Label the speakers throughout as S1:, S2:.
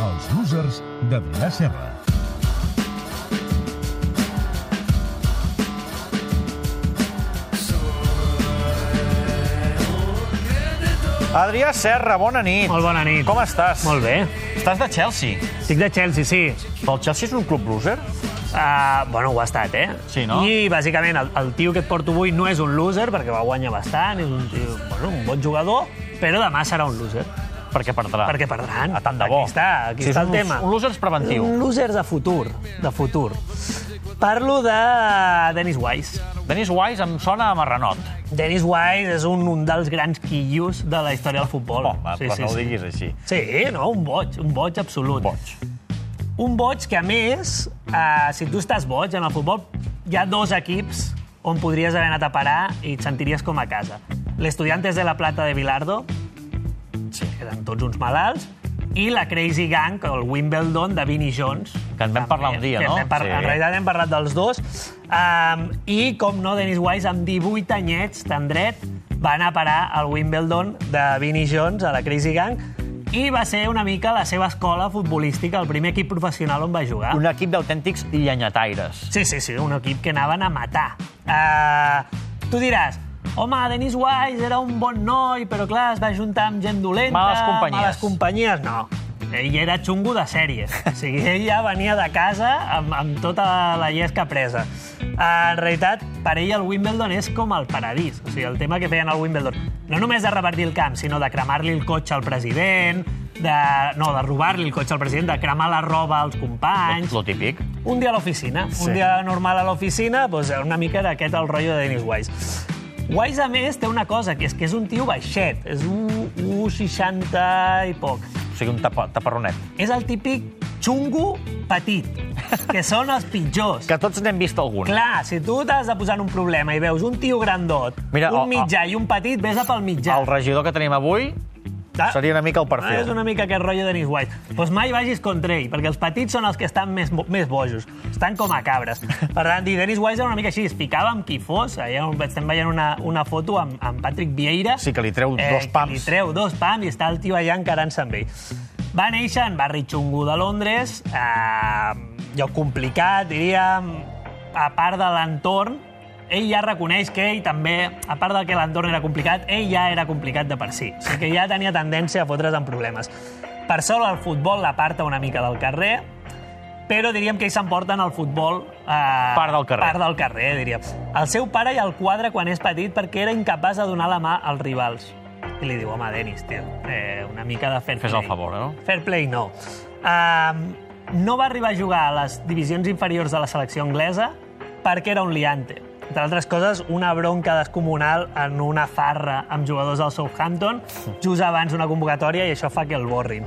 S1: Masters d'Adrià Serra.
S2: Adrià Serra, bona nit.
S3: Molt bona nit.
S2: Com estàs?
S3: Molt bé.
S2: Estàs de Chelsea.
S3: Estic de Chelsea, sí.
S2: Però el Chelsea és un club loser?
S3: Uh, bueno, ho ha estat, eh?
S2: Sí, no?
S3: I, bàsicament, el, el tio que et porto avui no és un loser, perquè va guanyar bastant, és un tio, bueno, un bon jugador, però demà serà un loser,
S2: Perquè perdrà.
S3: perquè perdran.
S2: Ah, A tant de bo.
S3: Aquí està, aquí
S2: Sí, és
S3: està el
S2: un,
S3: tema.
S2: Un loser és preventiu.
S3: Un loser de futur, de futur. Parlo de Dennis Wise.
S2: Dennis Wise em sona a marranot.
S3: Dennis Wise és un, un dels grans quillos de la història del futbol.
S2: Home, però no ho diguis així.
S3: Sí, no, un boig, un boig absolut.
S2: Boig.
S3: Un boig que, a més, eh, si tu estàs boig en el futbol, hi ha dos equips on podries haver anat a parar i et sentiries com a casa. L'Estudiantes de la Plata de Bilardo, sí. eren tots uns malalts, i la Crazy Gang, el Wimbledon de Vinnie Jones.
S2: Que en vam parlar un dia,
S3: que
S2: no?
S3: Hem par...
S2: Sí.
S3: sí. En realitat hem parlat dels dos. Um, I, com no, Dennis Wise, amb 18 anyets, tan dret, va anar a parar al Wimbledon de Vinnie Jones, a la Crazy Gang, i va ser una mica la seva escola futbolística, el primer equip professional on va jugar.
S2: Un equip d'autèntics llenyataires.
S3: Sí, sí, sí, un equip que anaven a matar. Uh, tu diràs, home, Denis Wise era un bon noi, però clar, es va juntar amb gent dolenta...
S2: Males companyies.
S3: Males companyies, no. Ell era xungo de sèrie. O sigui, ell ja venia de casa amb, amb tota la llesca presa. Uh, en realitat, per ell el Wimbledon és com el paradís. O sigui, el tema que feien al Wimbledon. No només de repartir el camp, sinó de cremar-li el cotxe al president, de, no, de robar-li el cotxe al president, de cremar la roba als companys...
S2: Lo típic.
S3: Un dia a l'oficina. Sí.
S2: Sí.
S3: Un dia normal a l'oficina, doncs una mica era aquest el rotllo de Dennis Wise. Wise, a més, té una cosa, que és que és un tio baixet. És un 1,60 i poc.
S2: O sigui, un tapa, taparronet.
S3: És el típic xungo petit, que són els pitjors.
S2: Que tots n'hem vist algun.
S3: Clar, si tu t'has de posar en un problema i veus un tio grandot,
S2: Mira,
S3: un
S2: el-
S3: mitjà i un petit, vés a pel mitjà.
S2: El regidor que tenim avui
S3: Ah,
S2: seria una mica el
S3: Ah, és
S2: perfil.
S3: una mica aquest rotllo de Dennis White. Doncs pues mai vagis contra ell, perquè els petits són els que estan més, bo- més bojos. Estan com a cabres. Per tant, dir, Dennis White era una mica així, es picava amb qui fos. Allà estem veient una, una foto amb, amb Patrick Vieira.
S2: Sí, que li treu dos
S3: Eh, que
S2: pams.
S3: Li treu dos pams i està el tio allà encarant-se amb ell. Va néixer en barri xungo de Londres, eh, lloc complicat, diríem, a part de l'entorn, ell ja reconeix que ell també, a part del que l'entorn era complicat, ell ja era complicat de per si. O sigui que ja tenia tendència a fotre's en problemes. Per sort, el futbol l'aparta una mica del carrer, però diríem que ells s'emporten al futbol... Eh,
S2: Part del carrer.
S3: Part del carrer, diríem. El seu pare i el quadre quan és petit perquè era incapaç de donar la mà als rivals. I li diu, home, Denis, tio, eh, una mica de fair
S2: Fes
S3: play.
S2: el favor, eh? no?
S3: Fair play no. Um, no va arribar a jugar a les divisions inferiors de la selecció anglesa perquè era un liante. Entre altres coses, una bronca descomunal en una farra amb jugadors del Southampton just abans d'una convocatòria i això fa que el borrin.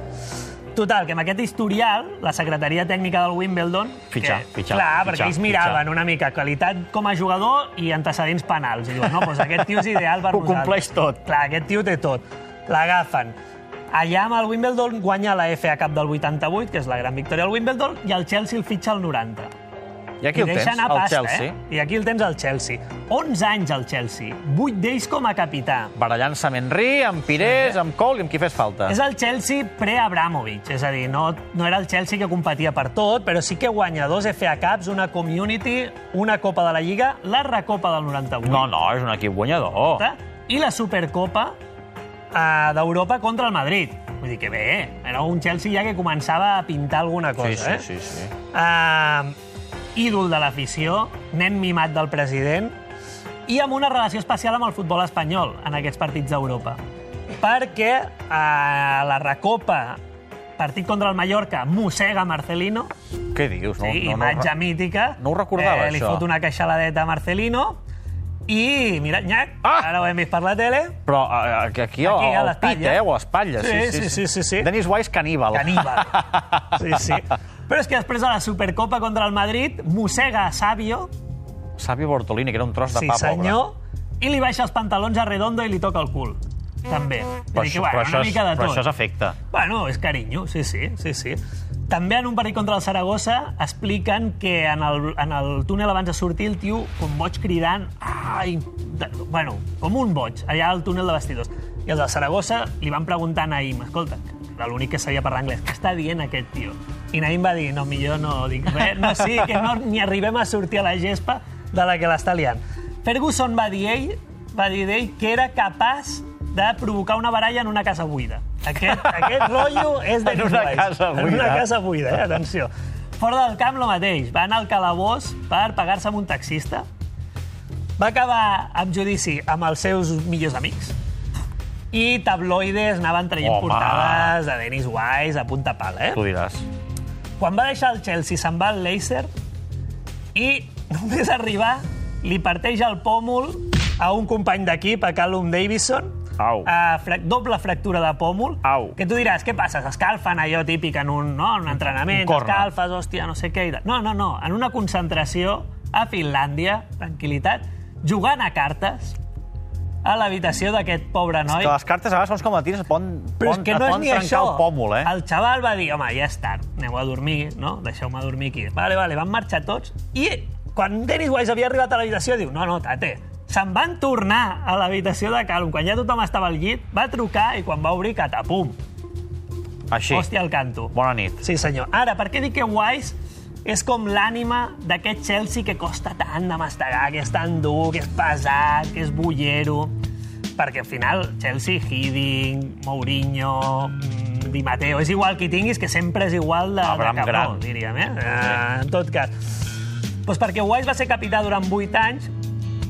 S3: Total, que amb aquest historial, la secretaria tècnica del Wimbledon...
S2: Fitxar,
S3: que,
S2: fitxar,
S3: Clar,
S2: fitxar,
S3: perquè ells
S2: fitxar.
S3: miraven una mica qualitat com a jugador i antecedents penals. I diuen, no, doncs aquest tio és ideal per
S2: Ho
S3: nosaltres.
S2: compleix tot.
S3: Clar, aquest tio té tot. L'agafen. Allà amb el Wimbledon guanya la FA Cup del 88, que és la gran victòria del Wimbledon, i el Chelsea el fitxa al 90.
S2: I aquí
S3: I
S2: el
S3: deixa
S2: tens,
S3: anar
S2: el
S3: pasta,
S2: Chelsea.
S3: Eh? I aquí el tens al Chelsea. 11 anys al Chelsea, 8 d'ells com a capità.
S2: Barallant-se amb Henry, amb Pires, amb Cole i amb qui fes falta.
S3: És el Chelsea pre-Abramovic, és a dir, no, no era el Chelsea que competia per tot, però sí que guanya dos FA Cups, una Community, una Copa de la Lliga, la Recopa del 98.
S2: No, no, és un equip guanyador.
S3: Copa i la Supercopa eh, d'Europa contra el Madrid. Vull dir que bé, eh? era un Chelsea ja que començava a pintar alguna cosa.
S2: Sí, sí,
S3: eh?
S2: sí, sí.
S3: Eh, ídol de l'afició, nen mimat del president i amb una relació especial amb el futbol espanyol en aquests partits d'Europa. Perquè a la Recopa, partit contra el Mallorca, mossega Marcelino,
S2: Què dius?
S3: Sí, no, imatge
S2: re-
S3: mítica.
S2: no ho recordava,
S3: eh, Li
S2: això.
S3: fot una queixaladeta a Marcelino i, mira, nyac,
S2: Ah!
S3: ara ho hem vist per la tele,
S2: Però a- a- aquí, aquí al,
S3: Aquí, a
S2: al
S3: l'espatlla.
S2: pit, eh, o a l'espatlla.
S3: Sí, sí, sí, sí, sí.
S2: Dennis Wise, caníbal.
S3: caníbal. Sí, sí. Però és que després de la Supercopa contra el Madrid, mossega a Sabio,
S2: Sabio Bortolini, que era un tros de
S3: sí
S2: pa,
S3: senyor, i li baixa els pantalons a Redondo i li toca el cul. També.
S2: pobre.
S3: Vull dir que, bueno, una
S2: és,
S3: mica de
S2: Mm. però
S3: tot.
S2: això és efecte.
S3: Bueno, és carinyo, sí, sí, sí, sí. També en un partit contra el Saragossa expliquen que en el, en el túnel abans de sortir el tio, com boig cridant, ai, de, bueno, com un boig, allà al túnel de vestidors. I els del Saragossa li van preguntar a Naïm, escolta, era l'únic que sabia parlar anglès, què està dient aquest tio? I Naïm va dir, no, millor no dic res, no sí, que no ni arribem a sortir a la gespa de la que l'està liant. Ferguson va dir ell, va dir d'ell que era capaç de provocar una baralla en una casa buida. Aquest, aquest rotllo és de
S2: En una
S3: Newswise.
S2: casa
S3: En una
S2: buida.
S3: casa buida, eh? atenció. Fora del camp, el mateix. Va anar al calabós per pagar-se amb un taxista. Va acabar amb judici amb els seus millors amics. I tabloides anaven traient
S2: Home.
S3: portades de Dennis Wise a punta pala, eh?
S2: Tu diràs.
S3: Quan va deixar el Chelsea se'n va al Leicester i només arribar li parteix el pòmul a un company d'equip, a Callum Davison,
S2: Au.
S3: A fra doble fractura de pòmul.
S2: Au.
S3: Que tu diràs, què passa? S'escalfen allò típic en un, no? en un entrenament,
S2: Un corna.
S3: t'escalfes, hòstia, no sé què. i tal. No, no, no. En una concentració a Finlàndia, tranquil·litat, jugant a cartes a l'habitació d'aquest pobre noi.
S2: Que les cartes, a vegades, segons com la tires, et poden,
S3: Però és
S2: poden-
S3: que
S2: et
S3: no és
S2: poden
S3: ni
S2: trencar
S3: això.
S2: el pòmul, eh?
S3: El xaval va dir, home, ja és tard, aneu a dormir, no? Deixeu-me dormir aquí. Vale, vale, van marxar tots. I quan Dennis Wise havia arribat a l'habitació, diu, no, no, tate, se'n van tornar a l'habitació de Calum. Quan ja tothom estava al llit, va trucar i quan va obrir, catapum.
S2: Així.
S3: Hòstia, el canto.
S2: Bona nit.
S3: Sí, senyor. Ara, per què dic que Wise és com l'ànima d'aquest Chelsea que costa tant de mastegar, que és tan dur, que és pesat, que és bullero... Perquè al final Chelsea, Hiddink, Mourinho, mm, Di Matteo... És igual qui tinguis, que sempre és igual de, de
S2: Abraham
S3: capó,
S2: Grant.
S3: diríem. Eh? Eh, en tot cas. Doncs perquè Wise va ser capità durant 8 anys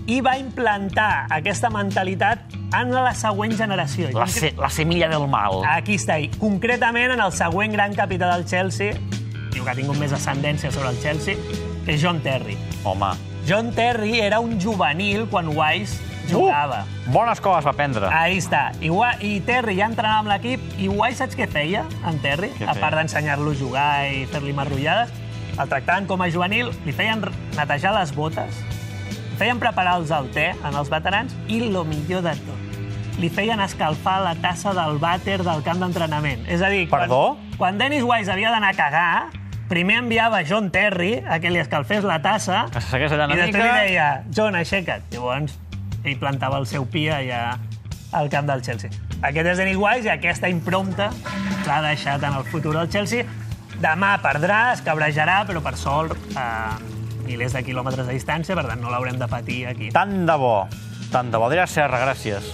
S3: i va implantar aquesta mentalitat en la següent generació. I
S2: La, se, la semilla del mal.
S3: Aquí està, i concretament en el següent gran capità del Chelsea, diu que ha tingut més ascendència sobre el Chelsea, que és John Terry.
S2: Home.
S3: John Terry era un juvenil quan Wise jugava. Uh!
S2: Uh, bones coses va prendre.
S3: Ahí està. I, Wa- I Terry ja entrenava amb l'equip, i Wise saps què feia amb Terry?
S2: Què
S3: A
S2: feia?
S3: part d'ensenyar-lo a jugar i fer-li marrullades, el tractaven com a juvenil, li feien r- netejar les botes, feien preparar els al te en els veterans i lo millor de tot, li feien escalfar la tassa del vàter del camp d'entrenament. És a dir,
S2: Perdó?
S3: Quan, quan Dennis Wise havia d'anar a cagar, primer enviava John Terry a que li escalfés la tassa
S2: Que se segueix allà
S3: i
S2: una
S3: després
S2: mica.
S3: li deia, John, aixeca't. Llavors, ell plantava el seu pia allà al camp del Chelsea. Aquest és Denis Wise i aquesta impronta l'ha deixat en el futur del Chelsea. Demà perdrà, es cabrejarà, però per eh, sort a milers de quilòmetres de distància, per tant no l'haurem de patir aquí.
S2: Tant de bo. Tant de bo. Adrià Serra, gràcies.